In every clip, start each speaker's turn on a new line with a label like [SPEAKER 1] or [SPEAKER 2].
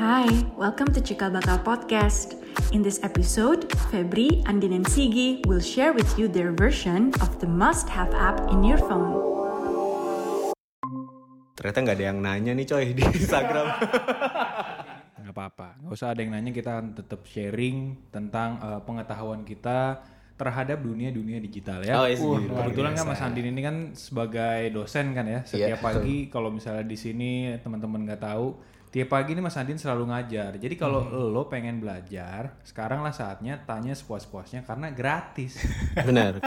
[SPEAKER 1] Hi, welcome to Cikal Bakal Podcast. In this episode, Febri, Andin, and Sigi will share with you their version of the must-have app in your phone.
[SPEAKER 2] Ternyata nggak ada yang nanya nih coy di Instagram.
[SPEAKER 3] nggak apa-apa nggak usah ada yang nanya kita akan tetap sharing tentang eh, pengetahuan kita terhadap dunia-dunia digital ya.
[SPEAKER 2] Oh, iya,
[SPEAKER 3] Wah,
[SPEAKER 2] luar
[SPEAKER 3] kebetulan kan
[SPEAKER 2] biasa.
[SPEAKER 3] Mas Andin ini kan sebagai dosen kan ya. Setiap
[SPEAKER 2] Iya,
[SPEAKER 3] pagi kalau misalnya di sini teman-teman nggak tahu, tiap pagi ini Mas Andin selalu ngajar. Jadi kalau
[SPEAKER 2] Hmm.
[SPEAKER 3] lo pengen belajar, sekaranglah saatnya tanya sepuas-puasnya karena gratis.
[SPEAKER 2] Benar.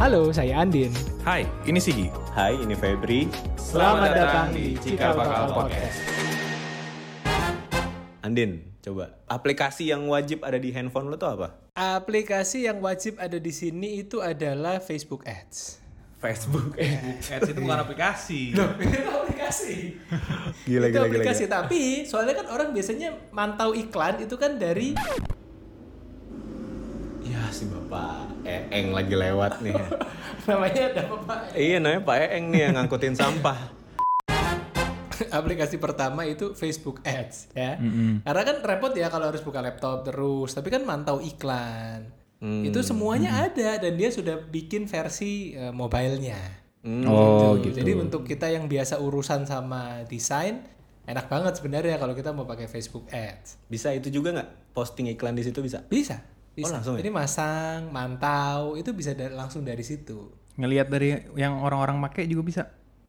[SPEAKER 4] Halo, saya Andin.
[SPEAKER 3] Hai, ini Sigi.
[SPEAKER 2] Hai, ini Febri. Andin, coba aplikasi yang wajib ada di handphone lo tuh apa?
[SPEAKER 4] Aplikasi yang wajib ada di sini itu adalah Facebook Ads.
[SPEAKER 2] Facebook.
[SPEAKER 3] Ads itu bukan aplikasi.
[SPEAKER 4] itu aplikasi.
[SPEAKER 2] Gila,
[SPEAKER 4] itu
[SPEAKER 2] gila, gila,
[SPEAKER 4] aplikasi, tapi soalnya kan orang biasanya mantau iklan itu kan dari
[SPEAKER 2] Ya si bapak Eeng lagi lewat nih.
[SPEAKER 4] namanya ada apa?
[SPEAKER 2] iya namanya Pak Eeng nih yang ngangkutin sampah.
[SPEAKER 4] aplikasi pertama itu Facebook Ads ya. Karena kan repot ya kalau harus buka laptop terus, tapi kan mantau iklan.
[SPEAKER 2] Hmm.
[SPEAKER 4] Itu semuanya ada dan dia sudah bikin versi eh, mobilenya.
[SPEAKER 2] Hmm.
[SPEAKER 3] Oh,
[SPEAKER 4] Gitu. Jadi untuk kita yang biasa urusan sama desain, enak banget sebenarnya kalau kita mau pakai Facebook Ads.
[SPEAKER 2] Bisa itu juga nggak? Posting iklan di situ bisa?
[SPEAKER 4] Bisa. bisa.
[SPEAKER 2] Oh, langsung ya?
[SPEAKER 4] Jadi masang, mantau, itu bisa da- langsung dari situ.
[SPEAKER 3] Ngelihat dari yang orang-orang make juga bisa.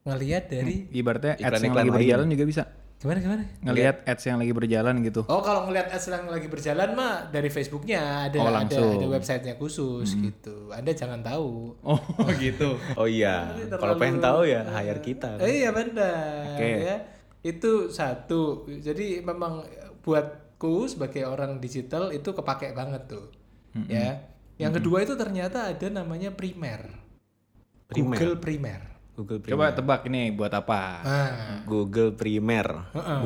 [SPEAKER 4] Ngelihat dari
[SPEAKER 3] Ibaratnya ads yang
[SPEAKER 2] Iklan-iklan
[SPEAKER 3] lagi
[SPEAKER 2] lain.
[SPEAKER 3] berjalan juga bisa.
[SPEAKER 4] gimana gimana?
[SPEAKER 3] ngelihat ads yang lagi berjalan gitu.
[SPEAKER 4] Oh kalau ngelihat ads yang lagi berjalan mah dari Facebooknya ada
[SPEAKER 3] Oh,
[SPEAKER 4] ada
[SPEAKER 3] langsung. Hmm.
[SPEAKER 4] ada websitenya khusus gitu. Anda jangan tahu.
[SPEAKER 3] Oh gitu.
[SPEAKER 2] Oh iya. Kalau pengen tahu ya hire kita.
[SPEAKER 4] Eh, iya benar.
[SPEAKER 3] Oke.
[SPEAKER 4] Ya. Itu satu. Jadi memang buatku sebagai orang digital itu kepake banget tuh.
[SPEAKER 3] Hmm,
[SPEAKER 4] Ya. Yang kedua itu ternyata ada namanya primer.
[SPEAKER 2] Primer.
[SPEAKER 4] Google Primer.
[SPEAKER 2] Google Primer.
[SPEAKER 3] Coba tebak nih buat apa?
[SPEAKER 4] Ah,
[SPEAKER 2] Google Primer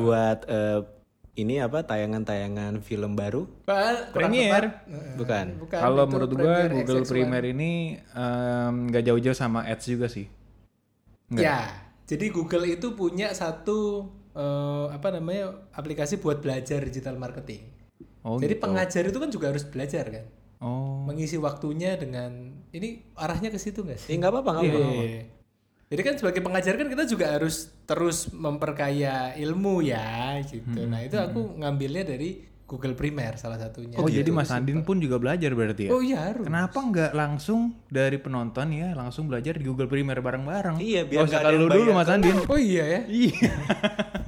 [SPEAKER 2] buat eh, ini apa tayangan-tayangan film baru?
[SPEAKER 4] Pak, kurang
[SPEAKER 3] Premier.
[SPEAKER 4] tepat. Eh,
[SPEAKER 2] Bukan.
[SPEAKER 4] bukan,
[SPEAKER 3] Kalau
[SPEAKER 4] itu
[SPEAKER 3] menurut gua
[SPEAKER 4] Premiere
[SPEAKER 3] Google
[SPEAKER 4] XX1.
[SPEAKER 3] Premier ini em, nggak jauh-jauh sama ads juga sih. Nggak.
[SPEAKER 4] Ya. Jadi Google itu punya satu eh, apa namanya aplikasi buat belajar digital marketing.
[SPEAKER 3] Oh,
[SPEAKER 4] Jadi
[SPEAKER 3] gitu.
[SPEAKER 4] pengajar itu kan juga harus belajar kan.
[SPEAKER 3] Oh.
[SPEAKER 4] mengisi waktunya dengan ini arahnya ke situ nggak
[SPEAKER 2] Eh
[SPEAKER 4] sih?
[SPEAKER 2] nggak apa-apa, nggak
[SPEAKER 4] Iya,
[SPEAKER 2] apa-apa.
[SPEAKER 4] iya, iya. Jadi kan sebagai pengajar kan kita juga harus terus memperkaya ilmu ya gitu. Nah itu aku ngambilnya dari Google Primer salah satunya.
[SPEAKER 3] Oh jadi Mas Andin pun juga belajar berarti ya?
[SPEAKER 4] iya, Oh iya harus.
[SPEAKER 3] Kenapa nggak langsung dari penonton ya langsung belajar di Google Premier bareng-bareng?
[SPEAKER 2] Iya, biar nggak
[SPEAKER 3] Nggak usah
[SPEAKER 2] ada
[SPEAKER 3] kalau
[SPEAKER 2] yang
[SPEAKER 3] dulu
[SPEAKER 2] bayar.
[SPEAKER 3] Mas Andin.
[SPEAKER 4] Oh iya ya.
[SPEAKER 3] Iya.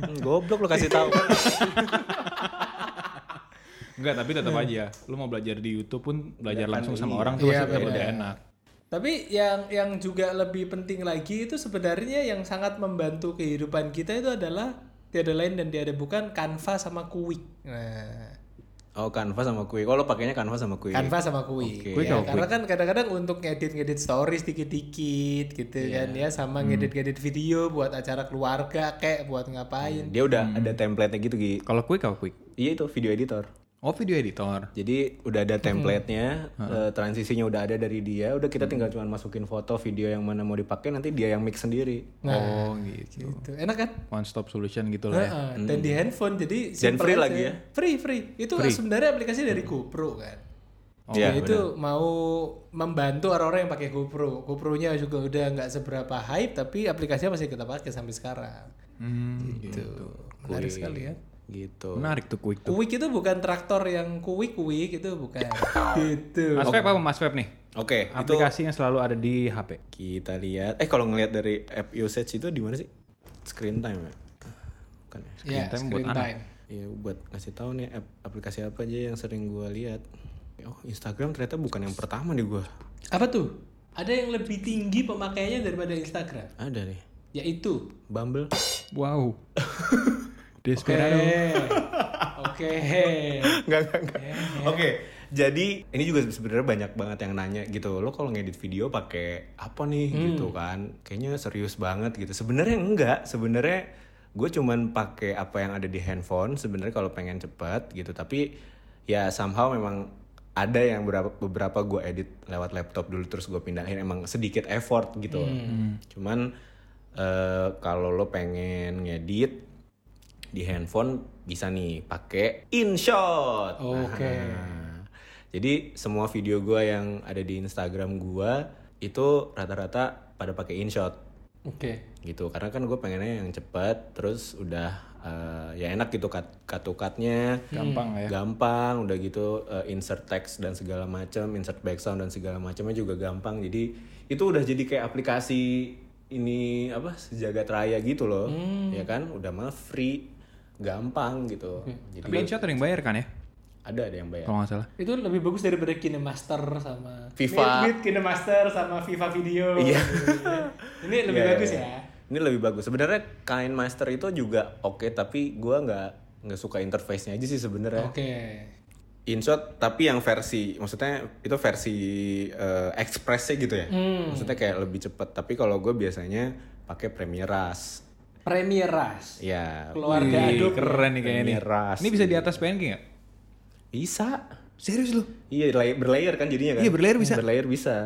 [SPEAKER 2] Hmm, Goblok lo kasih tahu.
[SPEAKER 3] Enggak, tapi tetap aja. Lu mau belajar di YouTube pun belajar langsung sama orang tuh
[SPEAKER 4] Iya,
[SPEAKER 3] masih
[SPEAKER 4] benar.
[SPEAKER 3] udah enak.
[SPEAKER 4] Tapi yang yang juga lebih penting lagi itu sebenarnya yang sangat membantu kehidupan kita itu adalah tiada lain dan tiada bukan Canva sama Quick. Nah,
[SPEAKER 2] Oh Canva sama Quick. Oh lo pakainya Canva sama Quick.
[SPEAKER 4] Canva sama Kui.
[SPEAKER 2] Oke.
[SPEAKER 3] Kui
[SPEAKER 4] Ya,
[SPEAKER 3] sama
[SPEAKER 4] karena kan kadang-kadang untuk ngedit-ngedit stories dikit-dikit gitu kan ya sama ngedit-ngedit video buat acara keluarga kayak buat ngapain.
[SPEAKER 2] Dia udah ada template-nya gitu Gi.
[SPEAKER 3] Kalau Quick apa Quick?
[SPEAKER 2] Iya itu video editor.
[SPEAKER 3] Oh video editor.
[SPEAKER 2] Jadi udah ada template-nya, eh, transisinya udah ada dari dia. Udah kita tinggal cuma masukin foto, video yang mana mau dipakai nanti dia yang mix sendiri.
[SPEAKER 3] oh gitu.
[SPEAKER 4] Gitu. Enak kan?
[SPEAKER 3] One stop solution gitu lah ya.
[SPEAKER 4] Heeh, Dan di handphone jadi
[SPEAKER 2] Dan
[SPEAKER 4] simple
[SPEAKER 2] free
[SPEAKER 4] aja.
[SPEAKER 2] lagi ya?
[SPEAKER 4] Free free. Itu sebenarnya aplikasi dari GoPro kan.
[SPEAKER 2] Oh, Iya,
[SPEAKER 4] itu mau membantu orang-orang yang pakai GoPro. GoPro-nya juga udah nggak seberapa hype tapi aplikasinya masih kita pakai sampai sekarang. gitu. Menarik sekali ya.
[SPEAKER 2] Gitu.
[SPEAKER 3] Menarik tuh Quick tuh.
[SPEAKER 4] Kuik itu bukan traktor yang kuik-kuik itu bukan. gitu.
[SPEAKER 3] Mas Feb apa Mas Feb nih?
[SPEAKER 2] Oke, itu
[SPEAKER 3] Aplikasi yang selalu ada di HP.
[SPEAKER 2] kita lihat. Eh kalau ngelihat dari app usage itu di mana sih? Screen time ya? Bukan ya?
[SPEAKER 4] Ya,
[SPEAKER 3] time
[SPEAKER 4] screen
[SPEAKER 3] buat
[SPEAKER 4] time.
[SPEAKER 2] Ya buat ngasih tahu nih app, aplikasi apa aja yang sering gua lihat. Oh Instagram ternyata bukan yang pertama di gua.
[SPEAKER 4] Apa tuh? Ada yang lebih tinggi pemakaiannya daripada Instagram,
[SPEAKER 2] Ada nih.
[SPEAKER 4] yaitu
[SPEAKER 2] Bumble.
[SPEAKER 3] Wow.
[SPEAKER 4] Oke.
[SPEAKER 3] Desperado.
[SPEAKER 4] Oke.
[SPEAKER 2] Enggak, enggak, enggak. Oke. Jadi ini juga sebenarnya banyak banget yang nanya gitu. Lo kalau ngedit video pakai apa nih gitu kan? Kayaknya serius banget gitu. Sebenarnya enggak. Sebenarnya gue cuman pakai apa yang ada di handphone sebenarnya kalau pengen cepet gitu. Tapi ya somehow memang ada yang beberapa beberapa gue edit lewat laptop dulu terus gue pindahin emang sedikit effort gitu loh. cuman eh, kalau lo pengen ngedit di handphone bisa nih pakai InShot
[SPEAKER 4] Oke.
[SPEAKER 2] Nah, jadi semua video gue yang ada di Instagram gue itu rata-rata pada pakai InShot
[SPEAKER 4] Oke.
[SPEAKER 2] gitu karena kan gue pengennya yang cepat terus udah eh, ya enak gitu cut cut to cutnya
[SPEAKER 3] Gampang lah ya.
[SPEAKER 2] gampang udah gitu eh, insert text dan segala macam insert background dan segala macamnya juga gampang jadi itu udah jadi kayak aplikasi ini apa sejagat raya gitu loh
[SPEAKER 3] Hmm.
[SPEAKER 2] ya kan udah mah free gampang gitu jadi
[SPEAKER 3] Hmm. Tapi Oh. InShot ada yang bayar kan ya?
[SPEAKER 2] ada ada yang bayar
[SPEAKER 3] Kalau nggak salah.
[SPEAKER 4] Itu lebih bagus daripada Kinemaster sama
[SPEAKER 2] FIFA.
[SPEAKER 4] Mirip Kinemaster sama FIFA Video.
[SPEAKER 2] Iya.
[SPEAKER 4] Ini lebih
[SPEAKER 2] Iya,
[SPEAKER 4] bagus
[SPEAKER 2] iya,
[SPEAKER 4] ya.
[SPEAKER 2] iya. Ini lebih bagus. Sebenarnya Kind Master itu juga oke, tapi gua nggak nggak suka interface-nya aja sih sebenarnya.
[SPEAKER 3] Oh.
[SPEAKER 4] Oke.
[SPEAKER 2] InShot tapi yang versi maksudnya itu versi eh, express-nya gitu ya. Maksudnya kayak lebih cepet. Tapi kalau gue biasanya pakai Premiere Rush.
[SPEAKER 4] Premiere Rush.
[SPEAKER 2] Ya.
[SPEAKER 4] Keluarga
[SPEAKER 3] Wih,
[SPEAKER 4] Adobe.
[SPEAKER 3] keren nih kayaknya nih.
[SPEAKER 2] Miras.
[SPEAKER 3] Ini bisa di atas PNG nggak?
[SPEAKER 2] Bisa.
[SPEAKER 3] Serius lu?
[SPEAKER 2] Iya, lay- berlayer kan jadinya kan?
[SPEAKER 3] Iya, berlayer bisa.
[SPEAKER 2] Berlayer bisa.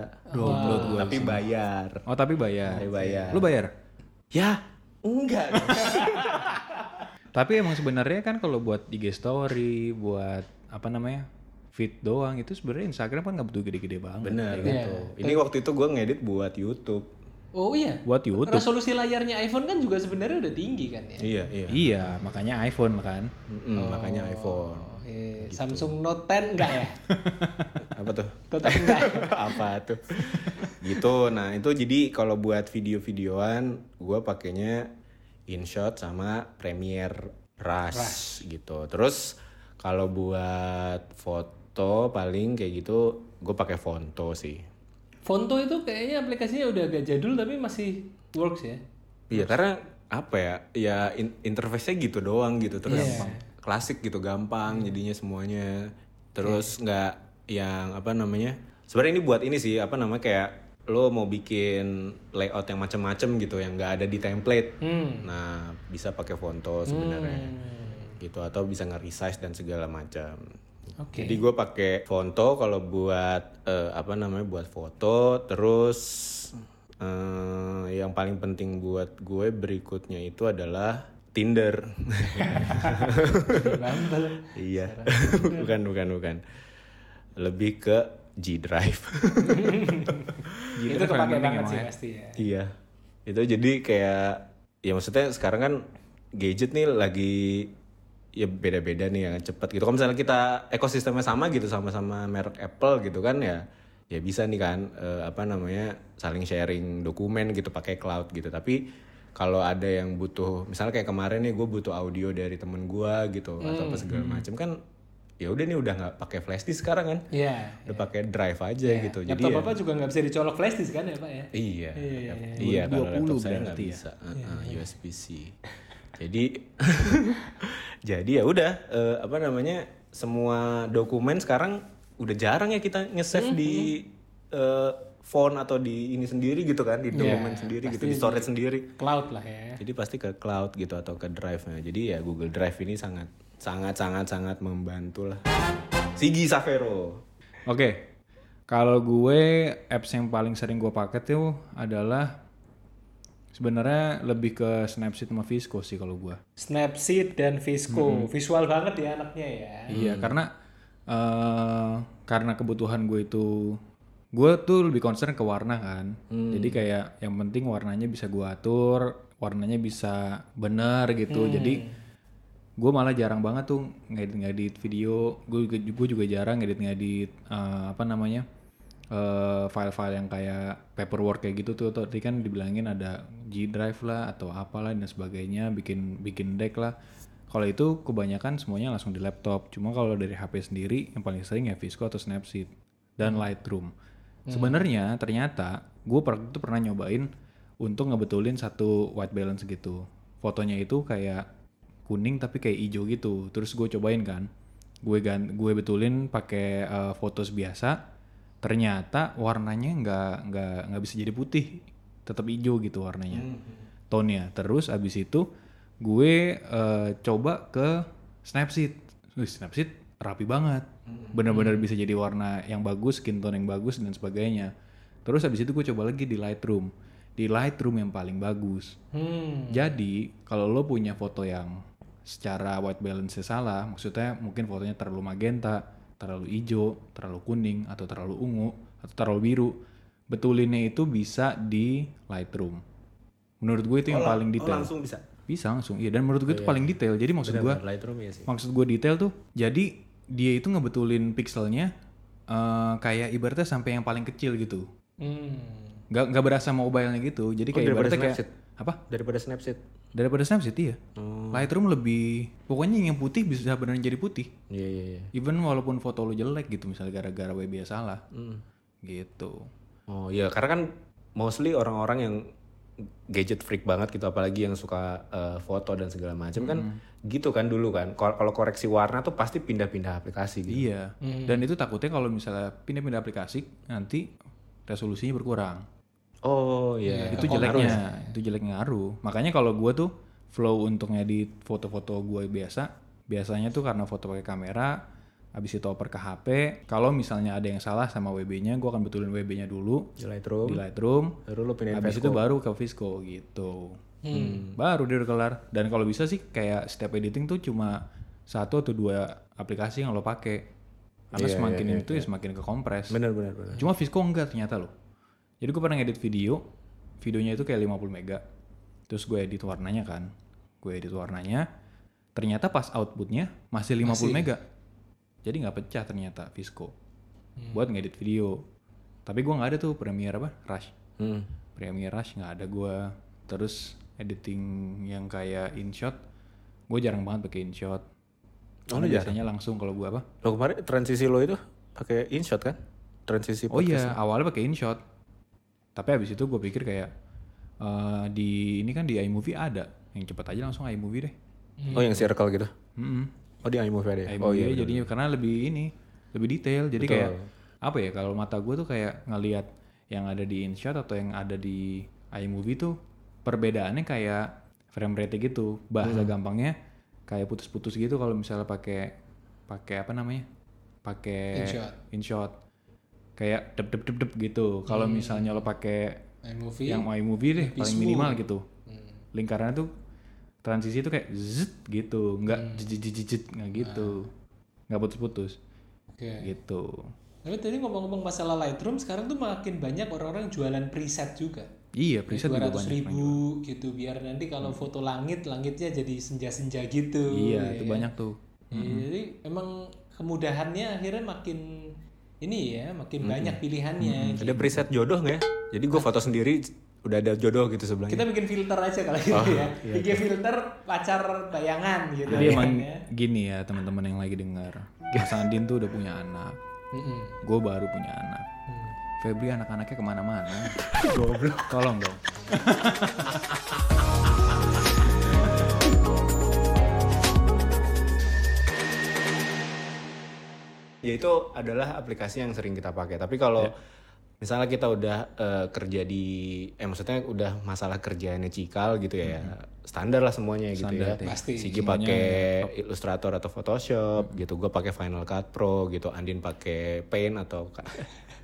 [SPEAKER 2] tapi bayar.
[SPEAKER 3] Oh tapi bayar.
[SPEAKER 2] Tapi bayar.
[SPEAKER 3] Lu bayar?
[SPEAKER 2] Ya, enggak.
[SPEAKER 3] Tapi emang sebenarnya kan kalau buat IG story, buat apa namanya? feed doang itu sebenarnya Instagram kan nggak butuh gede-gede banget.
[SPEAKER 2] Bener
[SPEAKER 3] ya kan?
[SPEAKER 2] gitu. Ini waktu itu gue ngedit buat YouTube.
[SPEAKER 4] Oh iya.
[SPEAKER 3] Buat YouTube.
[SPEAKER 4] Resolusi layarnya iPhone kan juga sebenarnya udah tinggi kan ya.
[SPEAKER 2] Iya, iya.
[SPEAKER 3] Iya, makanya iPhone kan.
[SPEAKER 2] Mm-mm, Makanya iPhone.
[SPEAKER 4] Oh, iya.
[SPEAKER 2] Gitu.
[SPEAKER 4] Samsung Note 10 enggak ya?
[SPEAKER 2] Apa tuh?
[SPEAKER 4] Tetap enggak. ya?
[SPEAKER 2] apa tuh gitu nah itu jadi kalau buat video-videoan gue pakainya InShot sama Premiere Rush, gitu terus kalau buat foto paling kayak gitu gue pakai Fonto sih
[SPEAKER 4] Fonto itu kayaknya aplikasinya udah agak jadul tapi masih works ya.
[SPEAKER 2] iya karena apa ya ya in- interface-nya gitu doang gitu terus klasik gitu gampang jadinya semuanya terus nggak yang apa namanya sebenarnya ini buat ini sih apa namanya kayak lo mau bikin layout yang macam-macam gitu yang nggak ada di template nah bisa pakai Fonto sebenarnya gitu atau bisa nge-resize dan segala macam
[SPEAKER 4] Oke.
[SPEAKER 2] jadi gue pakai Fonto kalau buat eh, apa namanya buat foto terus eh, yang paling penting buat gue berikutnya itu adalah Tinder.
[SPEAKER 4] Bumble.
[SPEAKER 2] iya. bukan bukan bukan. Lebih ke G Drive.
[SPEAKER 4] itu kepake banget sih pasti ya.
[SPEAKER 2] iya. Itu jadi kayak ya maksudnya sekarang kan gadget nih lagi ya beda-beda nih yang cepat gitu. Kalau misalnya kita ekosistemnya sama gitu sama-sama merek Apple gitu kan ya ya bisa nih kan eh, apa namanya saling sharing dokumen gitu pakai cloud gitu. Tapi kalau ada yang butuh misalnya kayak kemarin nih gue butuh audio dari temen gue gitu atau
[SPEAKER 4] Hmm,
[SPEAKER 2] apa segala macam kan ya udah nih udah nggak pakai flash disk sekarang kan
[SPEAKER 4] Iya.
[SPEAKER 2] udah pakai drive aja gitu. Jadi
[SPEAKER 4] Laptop
[SPEAKER 2] ya-
[SPEAKER 4] bapak juga nggak bisa dicolok flash disk kan ya pak ya?
[SPEAKER 2] Iya, iya, kalau
[SPEAKER 3] 20
[SPEAKER 2] laptop saya nggak
[SPEAKER 3] berarti ya.
[SPEAKER 2] bisa USB-C. Jadi, jadi ya udah eh, apa namanya semua dokumen sekarang udah jarang ya kita
[SPEAKER 3] Mhm.
[SPEAKER 2] nge-save di eh, phone atau di ini sendiri gitu kan di
[SPEAKER 3] Iya,
[SPEAKER 2] dokumen sendiri gitu di storage sendiri.
[SPEAKER 4] Cloud lah ya.
[SPEAKER 2] Jadi pasti ke cloud gitu atau ke drive-nya. Jadi ya Google Drive ini sangat sangat sangat sangat membantu lah. Sigi Savero.
[SPEAKER 3] Oke. Kalau gue apps yang paling sering gue pakai tuh adalah sebenarnya lebih ke Snapseed sama Visco sih kalau gue.
[SPEAKER 4] Snapseed dan Visco, visual banget ya anaknya ya.
[SPEAKER 3] Iya, karena eh karena kebutuhan gue itu gue tuh lebih concern ke warna kan. Jadi kayak yang penting warnanya bisa gue atur, warnanya bisa bener gitu. Jadi gue malah jarang banget tuh ngedit-ngedit video. Gue juga, gue juga jarang ngedit-ngedit eh, apa namanya eh, file-file yang kayak paperwork kayak gitu tuh. Tadi kan dibilangin ada G Drive lah atau apalah dan sebagainya, bikin bikin deck lah. Kalau itu kebanyakan semuanya langsung di laptop. Cuma kalau dari HP sendiri yang paling sering ya Visco atau Snapseed dan Lightroom. Sebenarnya ternyata gue per- itu pernah nyobain untuk ngebetulin satu white balance gitu. Fotonya itu kayak kuning tapi kayak hijau gitu. Terus gue cobain kan. Gue gan gue betulin pakai eh, fotos biasa. Ternyata warnanya nggak nggak nggak bisa jadi putih. Tetap hijau gitu warnanya. Tone-nya. Terus abis itu gue eh, coba ke Snapseed. Wih, Snapseed rapi banget. benar-benar bisa jadi warna yang bagus skin tone yang bagus dan sebagainya terus habis itu gue coba lagi di Lightroom di Lightroom yang paling bagus
[SPEAKER 4] Hmm.
[SPEAKER 3] jadi kalau lo punya foto yang secara white balance salah, maksudnya mungkin fotonya terlalu magenta, terlalu hijau, terlalu kuning, atau terlalu ungu, atau terlalu biru, betulinnya itu bisa di Lightroom. Menurut gue itu yang paling detail.
[SPEAKER 2] langsung bisa
[SPEAKER 3] Bisa langsung, iya. Dan menurut gue itu paling detail. Jadi maksud gue,
[SPEAKER 2] Lightroom ya sih
[SPEAKER 3] maksud gue detail tuh, jadi dia itu ngebetulin pixelnya eh, kayak ibaratnya sampai yang paling kecil gitu.
[SPEAKER 4] Hmm.
[SPEAKER 3] Gak, gak berasa mobile-nya gitu. Jadi
[SPEAKER 2] Oh,
[SPEAKER 3] kayak
[SPEAKER 2] daripada
[SPEAKER 3] ibaratnya kayak
[SPEAKER 2] Snapchat.
[SPEAKER 3] apa?
[SPEAKER 2] daripada Snapseed
[SPEAKER 3] daripada Snapchat ya. Lightroom lebih pokoknya yang putih bisa beneran jadi putih.
[SPEAKER 2] iya iya iya
[SPEAKER 3] Even walaupun foto lu jelek gitu misalnya gara-gara WBA salah. Gitu.
[SPEAKER 2] oh iya karena kan mostly orang-orang yang gadget freak banget gitu apalagi yang suka eh, foto dan segala macam kan gitu kan dulu kan Ko- kalau koreksi warna tuh pasti pindah-pindah aplikasi gitu
[SPEAKER 3] Iya. Dan itu takutnya kalau misalnya pindah-pindah aplikasi nanti resolusinya berkurang.
[SPEAKER 2] oh iya
[SPEAKER 3] itu jeleknya, itu jelek ngaruh. Makanya kalau gua tuh flow untungnya di foto-foto gua biasa, biasanya tuh karena foto pakai kamera, habis itu oper ke HP. Kalau misalnya ada yang salah sama WB-nya, gua akan betulin WB-nya dulu
[SPEAKER 2] di Lightroom
[SPEAKER 3] di Lightroom.
[SPEAKER 2] baru lo pindahin
[SPEAKER 3] Habis itu baru ke Visco gitu. Baru dia udah kelar. Dan kalau bisa sih kayak step editing tuh cuma satu atau dua aplikasi yang lo pakai.
[SPEAKER 2] Iya,
[SPEAKER 3] Karena semakin itu ya semakin ke kompres.
[SPEAKER 2] bener bener bener
[SPEAKER 3] Cuma Visco enggak ternyata loh. Jadi gue pernah ngedit video, videonya itu kayak 50 mega. Terus gue edit warnanya kan. Gue edit warnanya, ternyata pas outputnya masih 50 mega. Jadi nggak pecah ternyata Visco.
[SPEAKER 2] Hmm.
[SPEAKER 3] Buat ngedit video. Tapi gue nggak ada tuh Premiere apa? Rush.
[SPEAKER 2] Hmm.
[SPEAKER 3] Premiere Rush nggak ada gue. Terus editing yang kayak InShot, gue jarang banget pakai InShot.
[SPEAKER 2] Oh, lu
[SPEAKER 3] Karena
[SPEAKER 2] jarang?
[SPEAKER 3] biasanya langsung kalau gue apa?
[SPEAKER 2] Lo kemarin transisi lo itu pakai InShot kan? Transisi
[SPEAKER 3] Oh
[SPEAKER 2] podcast.
[SPEAKER 3] iya, awalnya pakai InShot. Tapi habis itu gue pikir kayak eh, di ini kan di iMovie ada, yang cepat aja langsung iMovie deh.
[SPEAKER 2] Oh yang circle gitu.
[SPEAKER 3] Mm-mm.
[SPEAKER 2] Oh di iMovie ada ya?
[SPEAKER 3] iMovie
[SPEAKER 2] Oh iya. bener.
[SPEAKER 3] jadinya karena lebih ini, lebih detail. Jadi
[SPEAKER 2] Betul.
[SPEAKER 3] kayak apa ya kalau mata gue tuh kayak ngelihat yang ada di InShot atau yang ada di iMovie tuh perbedaannya kayak frame rate gitu.
[SPEAKER 2] Hmm.
[SPEAKER 3] Bahasa gampangnya kayak putus-putus gitu kalau misalnya pakai pakai apa namanya? Pakai
[SPEAKER 4] InShot.
[SPEAKER 3] InShot. Kayak dep dep dep dep gitu.
[SPEAKER 2] Hmm.
[SPEAKER 3] Kalau misalnya lo pakai
[SPEAKER 4] iMovie.
[SPEAKER 3] yang iMovie deh paling minimal gitu
[SPEAKER 4] Hmm.
[SPEAKER 3] lingkarannya tuh transisi tuh kayak zzt gitu nggak
[SPEAKER 4] Hmm.
[SPEAKER 3] jijit nggak
[SPEAKER 4] Ah.
[SPEAKER 3] gitu nggak putus-putus
[SPEAKER 4] Oke.
[SPEAKER 3] gitu
[SPEAKER 4] Tapi tadi ngomong-ngomong masalah Lightroom, sekarang tuh makin banyak orang-orang jualan preset juga.
[SPEAKER 3] iya preset
[SPEAKER 4] Dua
[SPEAKER 3] juga
[SPEAKER 4] ratus
[SPEAKER 3] banyak Hmm.
[SPEAKER 4] ribu gitu, biar nanti kalau foto langit, langitnya jadi senja-senja gitu.
[SPEAKER 3] iya Hmm.
[SPEAKER 4] ya
[SPEAKER 3] itu
[SPEAKER 4] kan?
[SPEAKER 3] banyak tuh
[SPEAKER 4] Iya, Jadi emang kemudahannya akhirnya makin ini ya,
[SPEAKER 3] Hmm,
[SPEAKER 4] makin banyak pilihannya. gitu.
[SPEAKER 2] Ada preset jodoh nggak ya? Jadi gue foto sendiri udah ada jodoh gitu sebelahnya.
[SPEAKER 4] Kita bikin filter aja
[SPEAKER 3] Oh,
[SPEAKER 4] kalau gitu ya. Bikin filter pacar bayangan
[SPEAKER 3] iya,
[SPEAKER 4] gitu.
[SPEAKER 3] jadi
[SPEAKER 4] ya
[SPEAKER 3] emang
[SPEAKER 4] kan ya.
[SPEAKER 3] gini ya teman-teman yang lagi dengar Mas Andin tuh udah punya anak
[SPEAKER 4] Mm-mm.
[SPEAKER 3] gue baru punya anak
[SPEAKER 4] Hmm.
[SPEAKER 3] Febri anak-anaknya kemana-mana goblok tolong dong
[SPEAKER 2] Ya itu adalah aplikasi yang sering kita pakai. Tapi kalau misalnya kita udah eh, kerja di, eh maksudnya udah masalah kerjaannya cikal gitu ya, standar lah semuanya gitu
[SPEAKER 3] Standar
[SPEAKER 2] ya.
[SPEAKER 3] ya.
[SPEAKER 4] Pasti.
[SPEAKER 2] Sigi pakai Illustrator atau Photoshop gitu, gue pakai Final Cut Pro gitu, Andin pakai Paint atau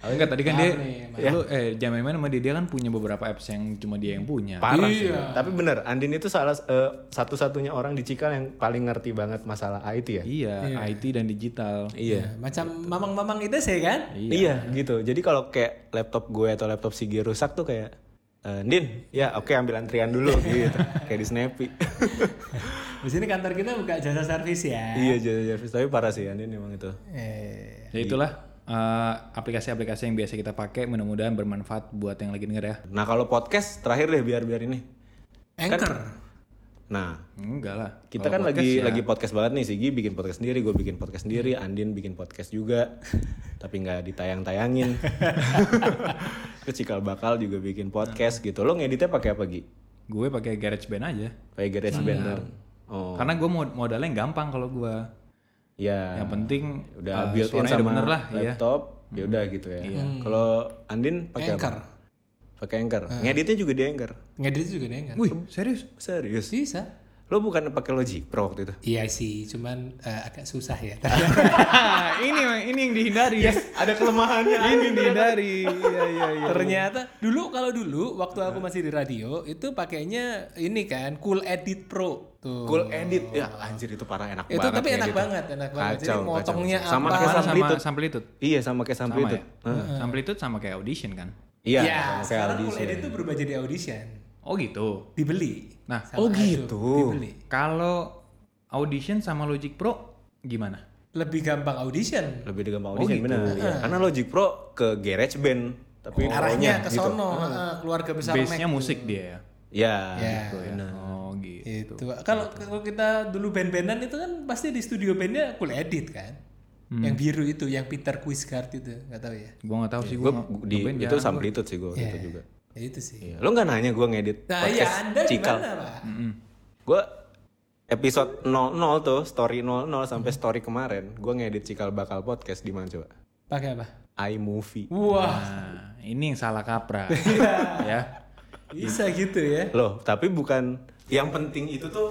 [SPEAKER 3] Oh, enggak tadi kan dia
[SPEAKER 4] Maaf
[SPEAKER 3] lu eh jangan main-main sama dia, dia kan punya beberapa apps yang cuma dia yang punya.
[SPEAKER 2] Parah sih. Tapi bener, Andin itu salah eh, satu-satunya orang di Cikal yang paling ngerti banget masalah IT ya.
[SPEAKER 3] Iya, IT dan digital.
[SPEAKER 2] Iya.
[SPEAKER 4] Macam mamang-mamang itu sih kan?
[SPEAKER 2] Iya, gitu. Jadi kalau kayak laptop gue atau laptop Sigi rusak tuh kayak eh Din, ya oke ambil antrian dulu gitu. kayak di Snappy.
[SPEAKER 4] Di sini kantor kita buka jasa servis ya.
[SPEAKER 2] iya, jasa service tapi parah sih Andin emang itu.
[SPEAKER 4] Eh,
[SPEAKER 3] Ya itulah eh, aplikasi-aplikasi yang biasa kita pakai mudah-mudahan bermanfaat buat yang lagi denger ya.
[SPEAKER 2] Nah, kalau podcast terakhir deh biar biar ini. Kan
[SPEAKER 4] anchor.
[SPEAKER 2] Nah,
[SPEAKER 3] Enggak lah.
[SPEAKER 2] kita kan lagi lagi podcast banget nih Sigi bikin podcast sendiri, gue bikin podcast sendiri, Andin bikin podcast juga. tapi nggak ditayang-tayangin. Terus Cikal bakal juga bikin podcast gitu. Lo ngeditnya pakai apa, Gi?
[SPEAKER 3] Gue pakai GarageBand aja.
[SPEAKER 2] Pakai GarageBand. dong? Oh.
[SPEAKER 3] Karena gue mod- modalnya yang gampang kalau gue.
[SPEAKER 2] Ya.
[SPEAKER 3] Yang penting
[SPEAKER 2] udah
[SPEAKER 3] eh,
[SPEAKER 2] built in
[SPEAKER 3] suaranya
[SPEAKER 2] sama
[SPEAKER 3] udah bener lah ya.
[SPEAKER 2] laptop ya udah gitu ya kalau Andin pakai
[SPEAKER 4] Anchor.
[SPEAKER 2] apa pakai anchor ngeditnya juga di anchor
[SPEAKER 4] Ngedit juga deh kan?
[SPEAKER 3] Wih, serius?
[SPEAKER 2] serius
[SPEAKER 4] Bisa.
[SPEAKER 2] Lo bukan pakai Logic Pro waktu itu?
[SPEAKER 4] Iya sih, cuman eh, agak susah ya.
[SPEAKER 3] ini ini yang dihindari.
[SPEAKER 2] Ada kelemahannya.
[SPEAKER 3] Ini yang dihindari. Iya iya iya.
[SPEAKER 4] Ternyata dulu kalau dulu waktu aku masih di radio itu pakainya ini kan Cool Edit Pro tuh.
[SPEAKER 2] Cool edit. Ya anjir itu parah enak
[SPEAKER 4] Itu kan-
[SPEAKER 2] banget.
[SPEAKER 4] tapi
[SPEAKER 2] ya
[SPEAKER 4] enak
[SPEAKER 2] gitu.
[SPEAKER 4] banget, enak banget. Jadi
[SPEAKER 2] Kacau, kacau.
[SPEAKER 4] motongnya
[SPEAKER 2] sama
[SPEAKER 4] apa?
[SPEAKER 2] kayak
[SPEAKER 3] Sama sama
[SPEAKER 2] Samplitude.
[SPEAKER 3] Samplitude.
[SPEAKER 2] Iya sama kayak
[SPEAKER 3] Sama
[SPEAKER 2] Samplitude.
[SPEAKER 3] ya. Samplitude sama kayak audition kan.
[SPEAKER 2] Iya, sama
[SPEAKER 4] ya,
[SPEAKER 2] kayak
[SPEAKER 4] sekarang Cool
[SPEAKER 2] audition.
[SPEAKER 4] Edit itu berubah jadi audition.
[SPEAKER 3] Oh gitu.
[SPEAKER 4] Dibeli.
[SPEAKER 3] Nah,
[SPEAKER 4] Sama
[SPEAKER 2] oh
[SPEAKER 4] Adobe,
[SPEAKER 2] gitu.
[SPEAKER 4] Dibeli.
[SPEAKER 3] Kalau audition sama Logic Pro gimana?
[SPEAKER 4] Lebih gampang audition.
[SPEAKER 2] Lebih gampang audition
[SPEAKER 3] gitu.
[SPEAKER 2] bener. Iya. Karena Logic Pro ke Garage Band tapi
[SPEAKER 4] Oh. Arahnya
[SPEAKER 2] Pro-nya
[SPEAKER 4] ke
[SPEAKER 2] gitu.
[SPEAKER 4] sono, heeh, keluarga besar Mac
[SPEAKER 3] Base-nya
[SPEAKER 4] tuh.
[SPEAKER 3] musik dia ya.
[SPEAKER 2] Iya,
[SPEAKER 4] Ah, gitu Ya.
[SPEAKER 2] gitu, bener.
[SPEAKER 3] Oh gitu.
[SPEAKER 4] Itu. Kalau kalau kita dulu band-bandan itu kan pasti di studio bandnya Cool Edit kan. Yang biru itu, yang Peter Quisgard itu, nggak tahu ya.
[SPEAKER 3] Gua nggak tahu sih
[SPEAKER 2] Gue
[SPEAKER 3] gua. nggak-
[SPEAKER 2] di
[SPEAKER 3] ngeband
[SPEAKER 2] itu
[SPEAKER 3] jarang gua.
[SPEAKER 2] Samplitude sih gue itu juga.
[SPEAKER 4] Ya, itu sih.
[SPEAKER 2] Iya. Lo nggak nanya gue ngedit
[SPEAKER 4] Nah, iya,
[SPEAKER 2] podcast
[SPEAKER 4] Anda di
[SPEAKER 2] Cikal.
[SPEAKER 4] mana, Pak?
[SPEAKER 2] Gue episode 00 tuh, story 00 sampai story kemarin, gue ngedit Cikal Bakal Podcast di mana coba?
[SPEAKER 4] Pakai apa?
[SPEAKER 2] iMovie.
[SPEAKER 4] Wah,
[SPEAKER 3] Nah, ini yang salah kaprah. ya.
[SPEAKER 4] bisa gitu ya.
[SPEAKER 2] Loh, tapi bukan yang penting itu tuh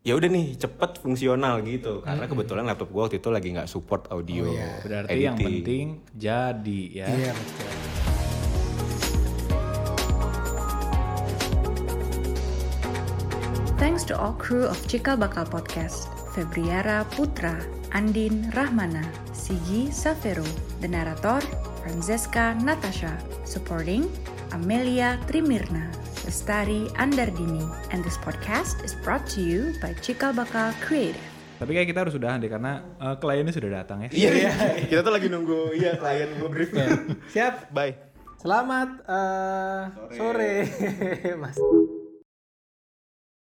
[SPEAKER 2] ya udah nih cepet fungsional gitu karena kebetulan laptop gua waktu itu lagi nggak support audio
[SPEAKER 3] Oh, Gitu. Berarti
[SPEAKER 2] Ya, editing.
[SPEAKER 3] yang penting jadi ya.
[SPEAKER 4] Iya, betul.
[SPEAKER 1] Thanks to all crew of Cikal Bakal Podcast, Febriara Putra, Andin Rahmana, Sigi Safero, the narrator, Francesca Natasha, supporting Amelia Trimirna, Lestari Andardini, and this podcast is brought to you by Cikal Bakal Creative.
[SPEAKER 3] Tapi kayak kita harus udahan deh karena eh, kliennya sudah datang ya.
[SPEAKER 2] iya iya kita tuh lagi nunggu iya klien gua brief
[SPEAKER 4] Siap.
[SPEAKER 2] bye
[SPEAKER 4] Selamat eh, sore. Mas.